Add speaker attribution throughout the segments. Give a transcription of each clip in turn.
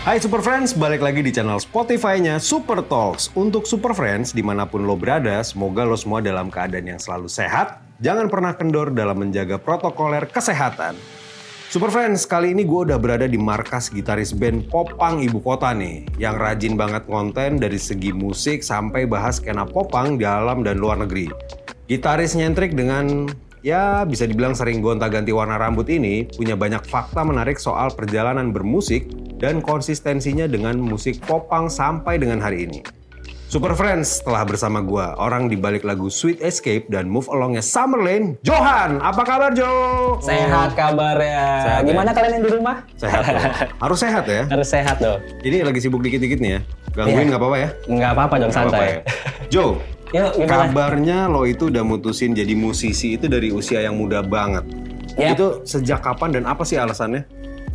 Speaker 1: Hai Super Friends, balik lagi di channel Spotify-nya Super Talks. Untuk Super Friends, dimanapun lo berada, semoga lo semua dalam keadaan yang selalu sehat. Jangan pernah kendor dalam menjaga protokoler kesehatan. Super Friends, kali ini gue udah berada di markas gitaris band Popang Ibu Kota nih. Yang rajin banget konten dari segi musik sampai bahas skena Popang dalam dan luar negeri. Gitaris nyentrik dengan ya bisa dibilang sering gonta-ganti warna rambut ini punya banyak fakta menarik soal perjalanan bermusik dan konsistensinya dengan musik Popang sampai dengan hari ini. Super Friends telah bersama gua orang di balik lagu Sweet Escape dan Move Alongnya Summerlane, Johan. Apa kabar Jo?
Speaker 2: Sehat kabarnya.
Speaker 1: Sehat, ya?
Speaker 2: Gimana kalian yang di rumah?
Speaker 1: Sehat. dong. Harus sehat ya.
Speaker 2: Harus sehat dong.
Speaker 1: Ini lagi sibuk dikit-dikit nih ya. Gangguin
Speaker 2: Iya.
Speaker 1: nggak apa-apa ya?
Speaker 2: Nggak apa-apa dong,
Speaker 1: Nggak apa-apa
Speaker 2: santai.
Speaker 1: ya. Jo,
Speaker 2: Yuk, gimana?
Speaker 1: kabarnya lo itu udah mutusin jadi musisi itu dari usia yang muda banget.
Speaker 2: Yap.
Speaker 1: Itu sejak kapan dan apa sih alasannya?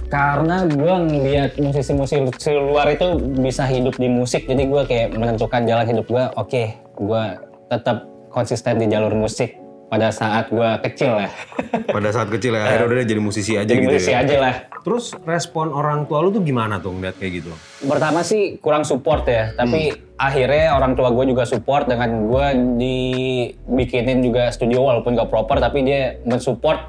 Speaker 2: Karena gue ngeliat musisi-musisi luar itu bisa hidup di musik, jadi gue kayak menentukan jalan hidup gue. Oke, gue tetap konsisten di jalur musik pada saat gue kecil lah.
Speaker 1: Pada saat kecil ya, akhirnya udah deh jadi musisi aja
Speaker 2: Iya. jadi
Speaker 1: gitu
Speaker 2: musisi iya.
Speaker 1: ya.
Speaker 2: aja lah.
Speaker 1: Terus respon orang tua lo tuh gimana tuh ngeliat kayak gitu?
Speaker 2: Pertama sih kurang support ya, tapi
Speaker 1: Hmm.
Speaker 2: akhirnya orang tua gue juga support dengan gue dibikinin juga studio walaupun gak proper, tapi dia mensupport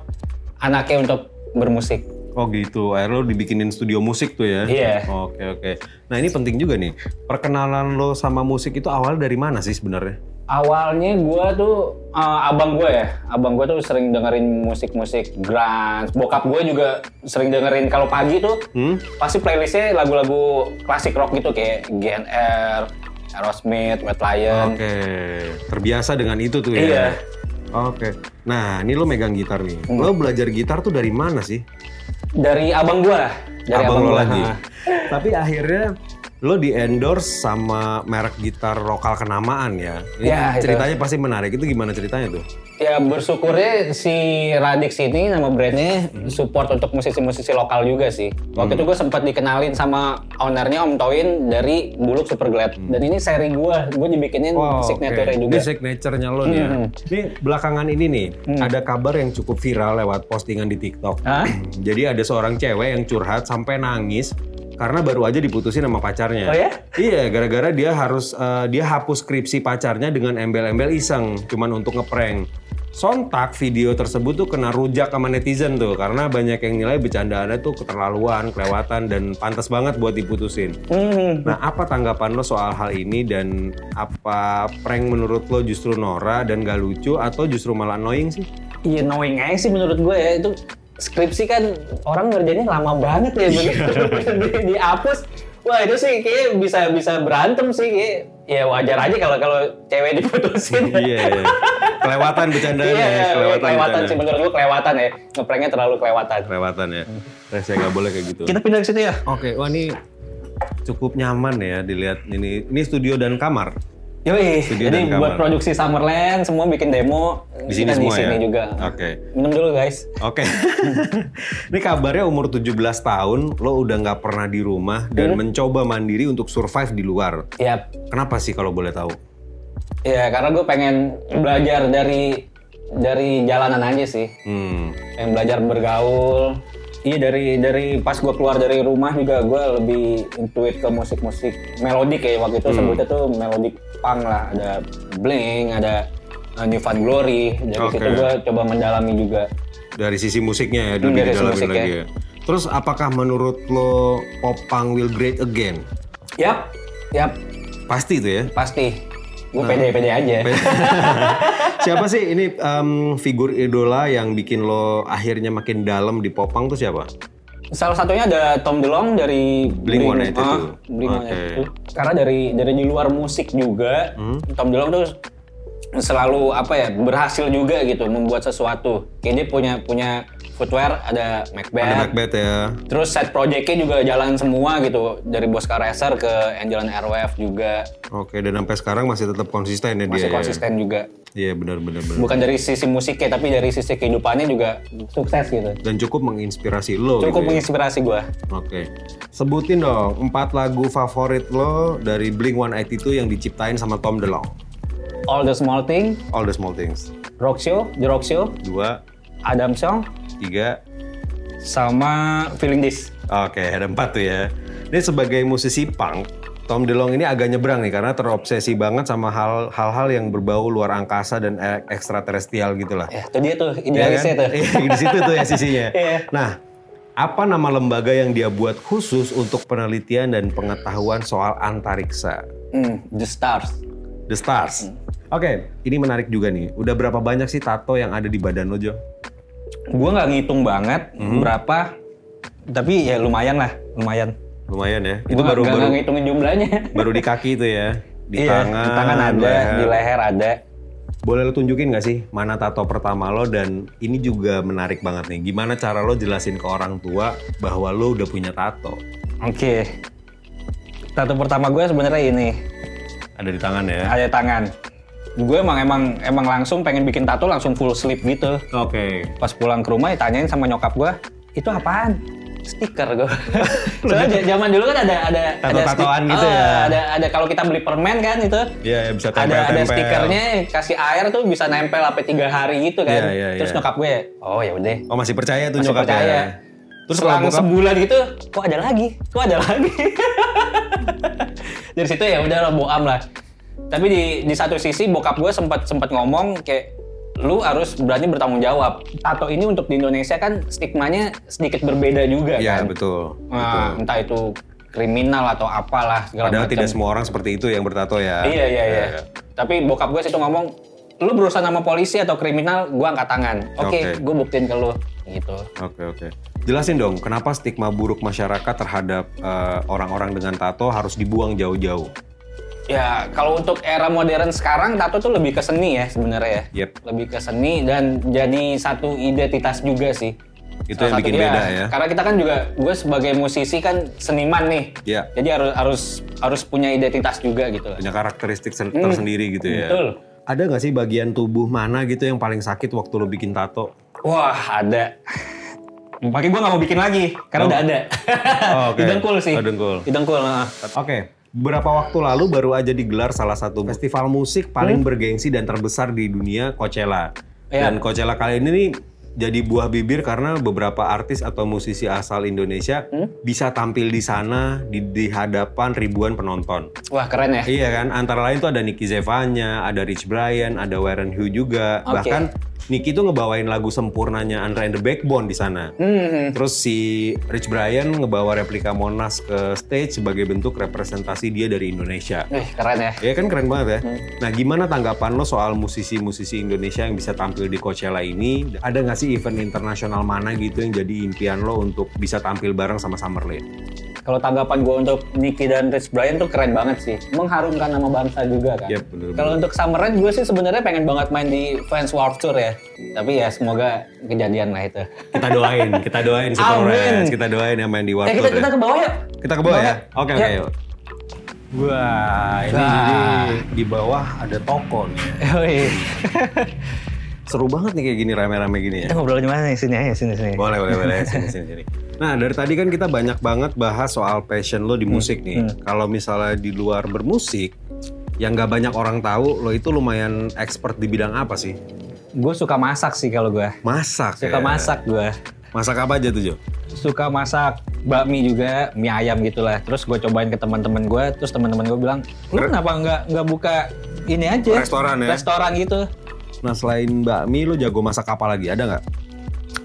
Speaker 2: anaknya untuk bermusik.
Speaker 1: Oh gitu, akhirnya lo dibikinin studio musik tuh ya?
Speaker 2: Iya.
Speaker 1: Oke oke. Nah ini penting juga nih, perkenalan lo sama musik itu awal dari mana sih sebenarnya?
Speaker 2: Awalnya gue tuh eh, abang gue ya, abang gue tuh sering dengerin musik-musik grunge. Bokap gue juga sering dengerin kalau pagi tuh
Speaker 1: Hmm?
Speaker 2: pasti playlistnya lagu-lagu klasik rock gitu kayak GNR, Aerosmith, Wet Lion.
Speaker 1: Oke, terbiasa dengan itu tuh ya.
Speaker 2: Iya. Hmm.
Speaker 1: Oke. Nah, ini lo megang gitar nih. Lo belajar gitar tuh dari mana sih?
Speaker 2: Dari abang gue, dari
Speaker 1: Abang, lo
Speaker 2: gua.
Speaker 1: lagi. Tapi akhirnya lo di endorse sama merek gitar lokal kenamaan ya. Ini
Speaker 2: Ya, itu.
Speaker 1: ceritanya pasti menarik. Itu gimana ceritanya tuh?
Speaker 2: Ya bersyukurnya si Radix ini nama brandnya support untuk musisi-musisi lokal juga sih. Waktu itu
Speaker 1: Hmm.
Speaker 2: gue sempat dikenalin sama ownernya Om Toin dari Buluk Superglad. Dan ini seri gue, gue dibikinin signature
Speaker 1: Hmm. oke.
Speaker 2: juga.
Speaker 1: Ini signature-nya lo nih ya.
Speaker 2: Hmm.
Speaker 1: Ini belakangan ini nih, ada kabar yang cukup viral lewat postingan di TikTok.
Speaker 2: Hah?
Speaker 1: Jadi ada seorang cewek yang curhat sampai nangis karena baru aja diputusin sama pacarnya.
Speaker 2: Oh ya?
Speaker 1: Iya, gara-gara dia harus eh, dia hapus skripsi pacarnya dengan embel-embel iseng, cuman untuk ngeprank. Sontak video tersebut tuh kena rujak sama netizen tuh karena banyak yang nilai bercandaannya tuh keterlaluan, kelewatan dan pantas banget buat diputusin.
Speaker 2: Hmm.
Speaker 1: Nah, apa tanggapan lo soal hal ini dan apa prank menurut lo justru Nora dan gak lucu atau justru malah annoying sih?
Speaker 2: Iya knowing aja sih menurut gue ya itu skripsi kan orang ngerjainnya lama banget ya
Speaker 1: Iya.
Speaker 2: bener. di, dihapus. Wah itu sih kayak bisa bisa berantem sih kayak ya wajar aja kalau kalau cewek diputusin.
Speaker 1: Iya. kelewatan bercandaan
Speaker 2: Iya,
Speaker 1: ya,
Speaker 2: iya,
Speaker 1: kelewatan.
Speaker 2: kelewatan
Speaker 1: bercandaan.
Speaker 2: sih menurut gue kelewatan ya. Ngepranknya terlalu kelewatan.
Speaker 1: Kelewatan ya. Saya nggak boleh kayak gitu.
Speaker 2: Kita pindah ke situ ya.
Speaker 1: Oke, wah ini cukup nyaman ya dilihat ini. Ini studio dan kamar.
Speaker 2: Yoi,
Speaker 1: Studio
Speaker 2: jadi
Speaker 1: dan kamar.
Speaker 2: buat produksi Summerland semua bikin demo
Speaker 1: Di sini
Speaker 2: kita
Speaker 1: semua
Speaker 2: Iya, di sini
Speaker 1: ya?
Speaker 2: juga.
Speaker 1: Oke.
Speaker 2: Minum dulu guys.
Speaker 1: Oke. ini kabarnya umur 17 tahun lo udah nggak pernah di rumah dan
Speaker 2: Hmm?
Speaker 1: mencoba mandiri untuk survive di luar.
Speaker 2: Yap.
Speaker 1: Kenapa sih kalau boleh tahu?
Speaker 2: Ya karena gue pengen belajar dari dari jalanan aja sih.
Speaker 1: Hmm.
Speaker 2: Pengen belajar bergaul. Iya dari dari pas gue keluar dari rumah juga gue lebih intuit ke musik-musik melodik ya waktu itu sebutnya tuh melodik punk lah ada Blink ada uh, New Found Glory dari
Speaker 1: Oke.
Speaker 2: situ gue coba mendalami juga
Speaker 1: dari sisi musiknya ya
Speaker 2: Hmm,
Speaker 1: lebih
Speaker 2: dari sisi
Speaker 1: didalamin
Speaker 2: musik
Speaker 1: lagi ya. Terus apakah menurut lo Popang will great again?
Speaker 2: Yap, yap,
Speaker 1: Pasti itu ya.
Speaker 2: pasti. Gue pede-pede aja.
Speaker 1: siapa sih ini em, figur idola yang bikin lo akhirnya makin dalam di Popang tuh siapa?
Speaker 2: Salah satunya ada Tom DeLonge dari
Speaker 1: Blink-182.
Speaker 2: Ah, Blink-182. Karena dari dari di luar musik juga, Tom DeLonge tuh selalu apa ya berhasil juga gitu membuat sesuatu. Kayak dia punya punya footwear ada
Speaker 1: Ada
Speaker 2: Macbeth.
Speaker 1: Macbeth ya.
Speaker 2: Terus set projectnya juga jalan semua gitu dari Bosca Racer ke Angelan Airwave juga
Speaker 1: Oke, dan sampai sekarang masih tetap konsisten ya dia.
Speaker 2: masih
Speaker 1: ya?
Speaker 2: konsisten juga.
Speaker 1: Iya, benar benar benar.
Speaker 2: Bukan dari sisi musiknya tapi dari sisi kehidupannya juga sukses gitu.
Speaker 1: Dan cukup menginspirasi lo
Speaker 2: Cukup
Speaker 1: gitu ya?
Speaker 2: menginspirasi gua.
Speaker 1: Oke. Sebutin dong empat lagu favorit lo dari Blink-182 yang diciptain sama Tom DeLonge.
Speaker 2: All the Small Thing,
Speaker 1: All the Small Things.
Speaker 2: Rock Show, The Rock Show,
Speaker 1: Dua,
Speaker 2: Adam Song,
Speaker 1: tiga,
Speaker 2: sama Feeling This.
Speaker 1: Oke, ada empat tuh ya. Ini sebagai musisi punk, Tom DeLonge ini agak nyebrang nih karena terobsesi banget sama hal- hal-hal yang berbau luar angkasa dan e- ekstraterestrial gitu lah.
Speaker 2: Ya, Eh. itu dia tuh
Speaker 1: Iya kan?
Speaker 2: idealisnya tuh.
Speaker 1: Iya, Di situ tuh ya sisinya.
Speaker 2: Iya.
Speaker 1: Nah, apa nama lembaga yang dia buat khusus untuk penelitian dan pengetahuan soal antariksa?
Speaker 2: Hmm, the stars.
Speaker 1: The Stars.
Speaker 2: Hmm.
Speaker 1: Oke, ini menarik juga nih. Udah berapa banyak sih tato yang ada di badan lo, Jo?
Speaker 2: Gua nggak ngitung banget berapa, tapi ya lumayan lah, lumayan.
Speaker 1: Lumayan ya.
Speaker 2: Itu
Speaker 1: Itu baru
Speaker 2: baru nggak
Speaker 1: baru,
Speaker 2: nggak ngitungin jumlahnya.
Speaker 1: baru di kaki itu ya. Di
Speaker 2: Iya,
Speaker 1: tangan.
Speaker 2: di tangan ada,
Speaker 1: leher.
Speaker 2: di leher ada.
Speaker 1: Boleh lo tunjukin nggak sih mana tato pertama lo dan ini juga menarik banget nih. Gimana cara lo jelasin ke orang tua bahwa lo udah punya tato?
Speaker 2: Oke. Tato pertama gue sebenarnya ini
Speaker 1: Ada di tangan ya.
Speaker 2: ada tangan. Gue emang emang emang langsung pengen bikin tato langsung full sleeve gitu.
Speaker 1: Oke.
Speaker 2: Pas pulang ke rumah ditanyain sama nyokap gue, itu apaan? Stiker gue. Soalnya j- zaman dulu kan ada ada ada
Speaker 1: Tato-tatoan
Speaker 2: stik-
Speaker 1: gitu ya.
Speaker 2: Ah, Ada ada kalau kita beli permen kan itu
Speaker 1: Iya, ya, bisa tempel-tempel.
Speaker 2: ada ada stikernya kasih air tuh bisa nempel sampai tiga hari gitu kan
Speaker 1: Iya, iya, iya.
Speaker 2: terus nyokap gue oh ya udah
Speaker 1: Oh, masih percaya tuh
Speaker 2: masih
Speaker 1: nyokapnya?
Speaker 2: percaya
Speaker 1: Terus
Speaker 2: terus
Speaker 1: setelah
Speaker 2: selang
Speaker 1: bokap?
Speaker 2: sebulan gitu kok ada lagi kok ada lagi dari situ ya udah lah boam lah tapi di di satu sisi bokap gue sempat sempat ngomong kayak lu harus berani bertanggung jawab tato ini untuk di Indonesia kan stigmanya sedikit berbeda juga
Speaker 1: Iya,
Speaker 2: kan
Speaker 1: betul.
Speaker 2: Nah, entah itu kriminal atau apalah segala
Speaker 1: Padahal
Speaker 2: macam
Speaker 1: tidak semua orang seperti itu yang bertato ya.
Speaker 2: Iya iya iya. Tapi bokap gue situ ngomong, lu berurusan sama polisi atau kriminal, gue angkat tangan. Oke,
Speaker 1: Oke.
Speaker 2: gue buktiin ke lu. Gitu.
Speaker 1: Oke oke. Jelasin dong, kenapa stigma buruk masyarakat terhadap eh, orang-orang dengan tato harus dibuang jauh-jauh?
Speaker 2: Ya kalau untuk era modern sekarang, tato tuh lebih ke seni ya sebenarnya ya.
Speaker 1: Yep.
Speaker 2: Lebih ke seni dan jadi satu identitas juga sih.
Speaker 1: Itu yang
Speaker 2: Salah satu-
Speaker 1: bikin
Speaker 2: iya,
Speaker 1: beda ya.
Speaker 2: Karena kita kan juga, gue sebagai musisi kan seniman nih.
Speaker 1: Iya.
Speaker 2: Jadi harus harus harus punya identitas juga gitu. lah.
Speaker 1: Punya karakteristik sen- tersendiri gitu ya.
Speaker 2: Hmm. Betul.
Speaker 1: Ada nggak sih bagian tubuh mana gitu yang paling sakit waktu lo bikin tato?
Speaker 2: Wah ada. Makanya gue gak mau bikin lagi, karena udah ada.
Speaker 1: Oh, oke.
Speaker 2: Di dengkul sih.
Speaker 1: Oh, dengkul.
Speaker 2: Di dengkul, ah.
Speaker 1: Oke. Beberapa waktu lalu baru aja digelar salah satu festival musik paling bergengsi dan terbesar di dunia, Coachella.
Speaker 2: Hmm? Iya.
Speaker 1: Dan Coachella kali ini nih jadi buah bibir karena beberapa artis atau musisi asal Indonesia
Speaker 2: Hmm?
Speaker 1: bisa tampil di sana di, di hadapan ribuan penonton.
Speaker 2: Wah keren ya.
Speaker 1: Iya kan, antara lain tuh ada Nicky Zevanya, ada Rich Brian, ada Warren Hu juga.
Speaker 2: Oke.
Speaker 1: Bahkan Nicky tuh ngebawain lagu sempurnanya Andra and the Backbone di sana.
Speaker 2: Hmm,
Speaker 1: Terus si Rich Brian ngebawa replika Monas ke stage sebagai bentuk representasi dia dari Indonesia.
Speaker 2: Wih, keren ya.
Speaker 1: Ya kan keren banget ya. Nah gimana tanggapan lo soal musisi-musisi Indonesia yang bisa tampil di Coachella ini? Ada nggak sih event internasional mana gitu yang jadi impian lo untuk bisa tampil bareng sama Summerlin?
Speaker 2: Kalau tanggapan gue untuk Nicky dan Rich Brian tuh keren banget sih. Mengharumkan nama bangsa juga
Speaker 1: Yap,
Speaker 2: kan.
Speaker 1: Iya, bener-bener.
Speaker 2: Kalau untuk Summerland gue sih sebenarnya pengen banget main di Fans Warped Tour ya. Tapi ya semoga kejadian lah itu.
Speaker 1: Kita doain, kita doain
Speaker 2: Amin.
Speaker 1: Summerlin. Kita doain yang main di Warped
Speaker 2: eh kita,
Speaker 1: Tour
Speaker 2: kita
Speaker 1: ya.
Speaker 2: ke bawah yuk.
Speaker 1: Kita ke bawah ya? Oke, oke.
Speaker 2: Ya.
Speaker 1: yuk. Wah, ini
Speaker 2: Wah.
Speaker 1: jadi di bawah ada toko nih.
Speaker 2: Yoi.
Speaker 1: Seru banget nih kayak gini rame-rame gini ya.
Speaker 2: kita ngobrol di mana nih? Sini aja, sini sini.
Speaker 1: Boleh, boleh, boleh. Sini, sini, sini. Nah, dari tadi kan kita banyak banget bahas soal passion lo di
Speaker 2: Hmm,
Speaker 1: musik nih. Kalau misalnya di luar bermusik, yang nggak banyak orang tahu, lo itu lumayan expert di bidang apa sih?
Speaker 2: Gue suka masak sih kalau gue.
Speaker 1: Masak
Speaker 2: Suka
Speaker 1: ya?
Speaker 2: masak gue.
Speaker 1: Masak apa aja tuh, Jo?
Speaker 2: Suka masak bakmi juga, mie ayam gitulah. Terus gue cobain ke teman-teman gue, terus teman-teman gue bilang, lu kenapa nggak nggak buka ini aja?
Speaker 1: Restoran ya?
Speaker 2: Restoran gitu.
Speaker 1: Nah, selain bakmi, lo jago masak apa lagi? Ada nggak?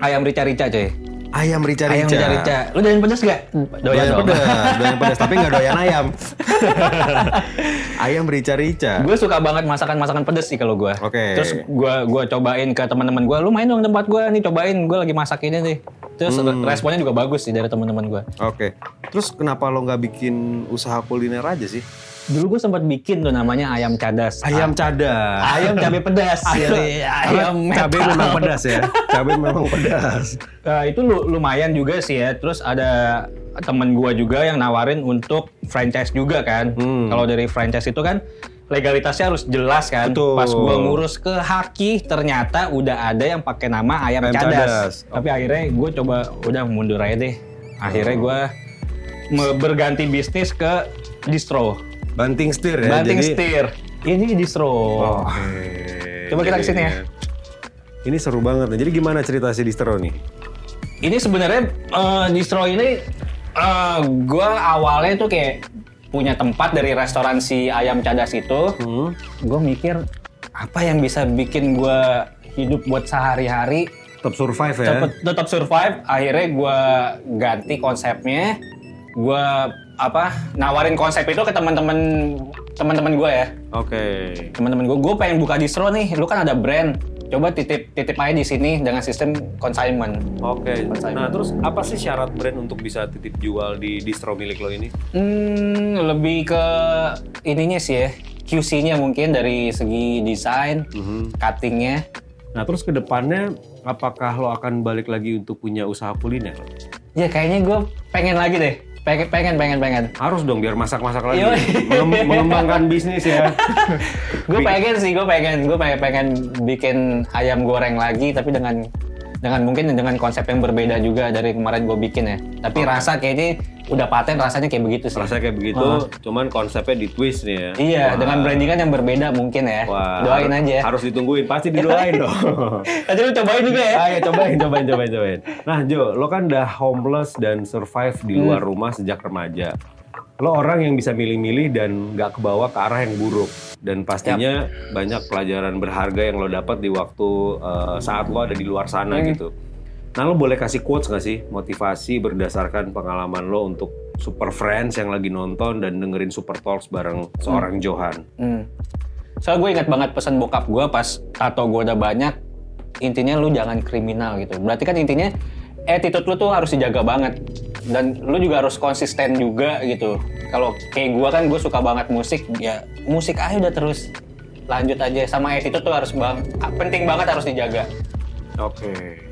Speaker 2: Ayam rica-rica coy.
Speaker 1: Ayam rica-rica.
Speaker 2: Ayam rica-rica. Lu doyan pedas gak?
Speaker 1: Doyan
Speaker 2: dong.
Speaker 1: pedas, doyan pedas, tapi nggak doyan ayam. ayam rica-rica.
Speaker 2: Gue suka banget masakan-masakan pedas sih kalau gue.
Speaker 1: Oke.
Speaker 2: Terus gue gua cobain ke teman-teman gue. Lu main dong tempat gue nih cobain. Gue lagi masak ini nih. Terus
Speaker 1: Hmm.
Speaker 2: responnya juga bagus sih dari teman-teman gue.
Speaker 1: Oke. Terus kenapa lo nggak bikin usaha kuliner aja sih?
Speaker 2: Dulu gue sempat bikin tuh namanya ayam cadas.
Speaker 1: Ayam cadar.
Speaker 2: Ayam cabe pedas. Jadi ayam
Speaker 1: cabai
Speaker 2: metal.
Speaker 1: memang pedas ya. Cabai memang pedas.
Speaker 2: Eh, itu lu- lumayan juga sih ya. Terus ada temen gua juga yang nawarin untuk franchise juga kan.
Speaker 1: Hmm.
Speaker 2: Kalau dari franchise itu kan legalitasnya harus jelas kan.
Speaker 1: Betul.
Speaker 2: Pas gua ngurus ke Haki ternyata udah ada yang pakai nama ayam,
Speaker 1: Ayam
Speaker 2: cadas.
Speaker 1: cadas.
Speaker 2: Tapi akhirnya gue coba udah mundur aja deh. Akhirnya gua me- berganti bisnis ke distro.
Speaker 1: Banting setir ya.
Speaker 2: Banting
Speaker 1: jadi- Oh.
Speaker 2: setir. Ini distro.
Speaker 1: Oke.
Speaker 2: Coba
Speaker 1: Jadi-
Speaker 2: kita ke sini ya.
Speaker 1: Ini seru banget. nih. Jadi gimana cerita si distro nih?
Speaker 2: Ini sebenarnya eh, distro ini Eh, gue awalnya tuh kayak punya tempat dari restoran si ayam cadas itu.
Speaker 1: Hmm?
Speaker 2: Gue mikir apa yang bisa bikin gue hidup buat sehari-hari
Speaker 1: Tetap survive ya.
Speaker 2: tetap tetap survive. Akhirnya gue ganti konsepnya. Gue apa nawarin konsep itu ke teman-teman teman-teman gue ya
Speaker 1: Oke.
Speaker 2: teman-teman gue gue pengen buka distro nih lu kan ada brand coba titip titip aja di sini dengan sistem consignment
Speaker 1: Oke.
Speaker 2: Persaingan.
Speaker 1: Nah, terus apa sih syarat brand untuk bisa titip jual di distro milik lo ini?
Speaker 2: Hmm, lebih ke ininya sih ya. QC-nya mungkin dari segi desain,
Speaker 1: Mhm.
Speaker 2: cutting-nya.
Speaker 1: Nah, terus ke depannya apakah lo akan balik lagi untuk punya usaha kuliner?
Speaker 2: Ya kayaknya gue pengen lagi deh. Pengen, pengen, pengen, pengen.
Speaker 1: Harus dong biar masak-masak lagi.
Speaker 2: Yoi.
Speaker 1: Mengem- mengembangkan bisnis ya.
Speaker 2: Gue pengen sih, gue pengen, gue pengen, pengen bikin ayam goreng lagi, tapi dengan dengan mungkin dengan konsep yang berbeda juga dari kemarin gue bikin ya. Tapi rasa kayaknya udah paten rasanya kayak begitu sih.
Speaker 1: Rasanya kayak begitu, cuman konsepnya di twist nih ya.
Speaker 2: Iya, dengan brandingan yang berbeda mungkin ya.
Speaker 1: Wah,
Speaker 2: Doain
Speaker 1: har-
Speaker 2: aja.
Speaker 1: Harus ditungguin, pasti didoain dong.
Speaker 2: Nanti lu cobain juga ya.
Speaker 1: Ayo cobain, cobain, cobain, cobain. Nah Jo, lo kan udah homeless dan survive di luar
Speaker 2: Hmm.
Speaker 1: rumah sejak remaja. Lo orang yang bisa milih-milih dan nggak kebawa ke arah yang buruk. Dan pastinya banyak pelajaran berharga yang lo dapat di waktu eh, saat lo ada di luar sana
Speaker 2: Hmm.
Speaker 1: gitu. Nah lo boleh kasih quotes nggak sih motivasi berdasarkan pengalaman lo untuk Super Friends yang lagi nonton dan dengerin Super Talks bareng seorang Johan.
Speaker 2: Hmm. Soalnya gue ingat banget pesan bokap gue pas tato gue udah banyak, intinya lu jangan kriminal gitu. Berarti kan intinya attitude lu tuh harus dijaga banget. Dan lu juga harus konsisten juga gitu. Kalau kayak gue kan gue suka banget musik, ya musik aja udah terus lanjut aja. Sama attitude tuh harus bang, penting banget harus dijaga.
Speaker 1: Oke.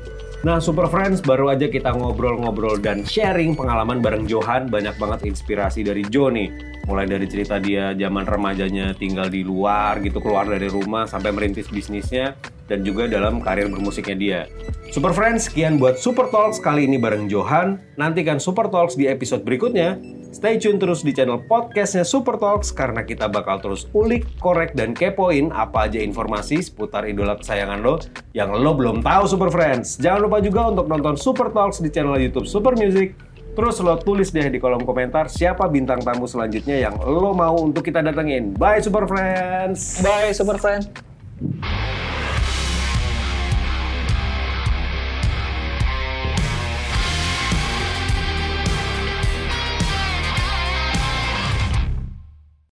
Speaker 1: Nah, Super Friends baru aja kita ngobrol-ngobrol dan sharing pengalaman bareng Johan. Banyak banget inspirasi dari Jo nih. Mulai dari cerita dia zaman remajanya tinggal di luar gitu, keluar dari rumah sampai merintis bisnisnya dan juga dalam karir bermusiknya dia. Super Friends, sekian buat Super Talks kali ini bareng Johan. Nantikan Super Talks di episode berikutnya. Stay tune terus di channel podcastnya Super Talks karena kita bakal terus ulik, korek, dan kepoin apa aja informasi seputar idola kesayangan lo yang lo belum tahu Super Friends. Jangan lupa juga untuk nonton Super Talks di channel YouTube Super Music. Terus lo tulis deh di kolom komentar siapa bintang tamu selanjutnya yang lo mau untuk kita datengin. Bye Super Friends!
Speaker 2: Bye super friend.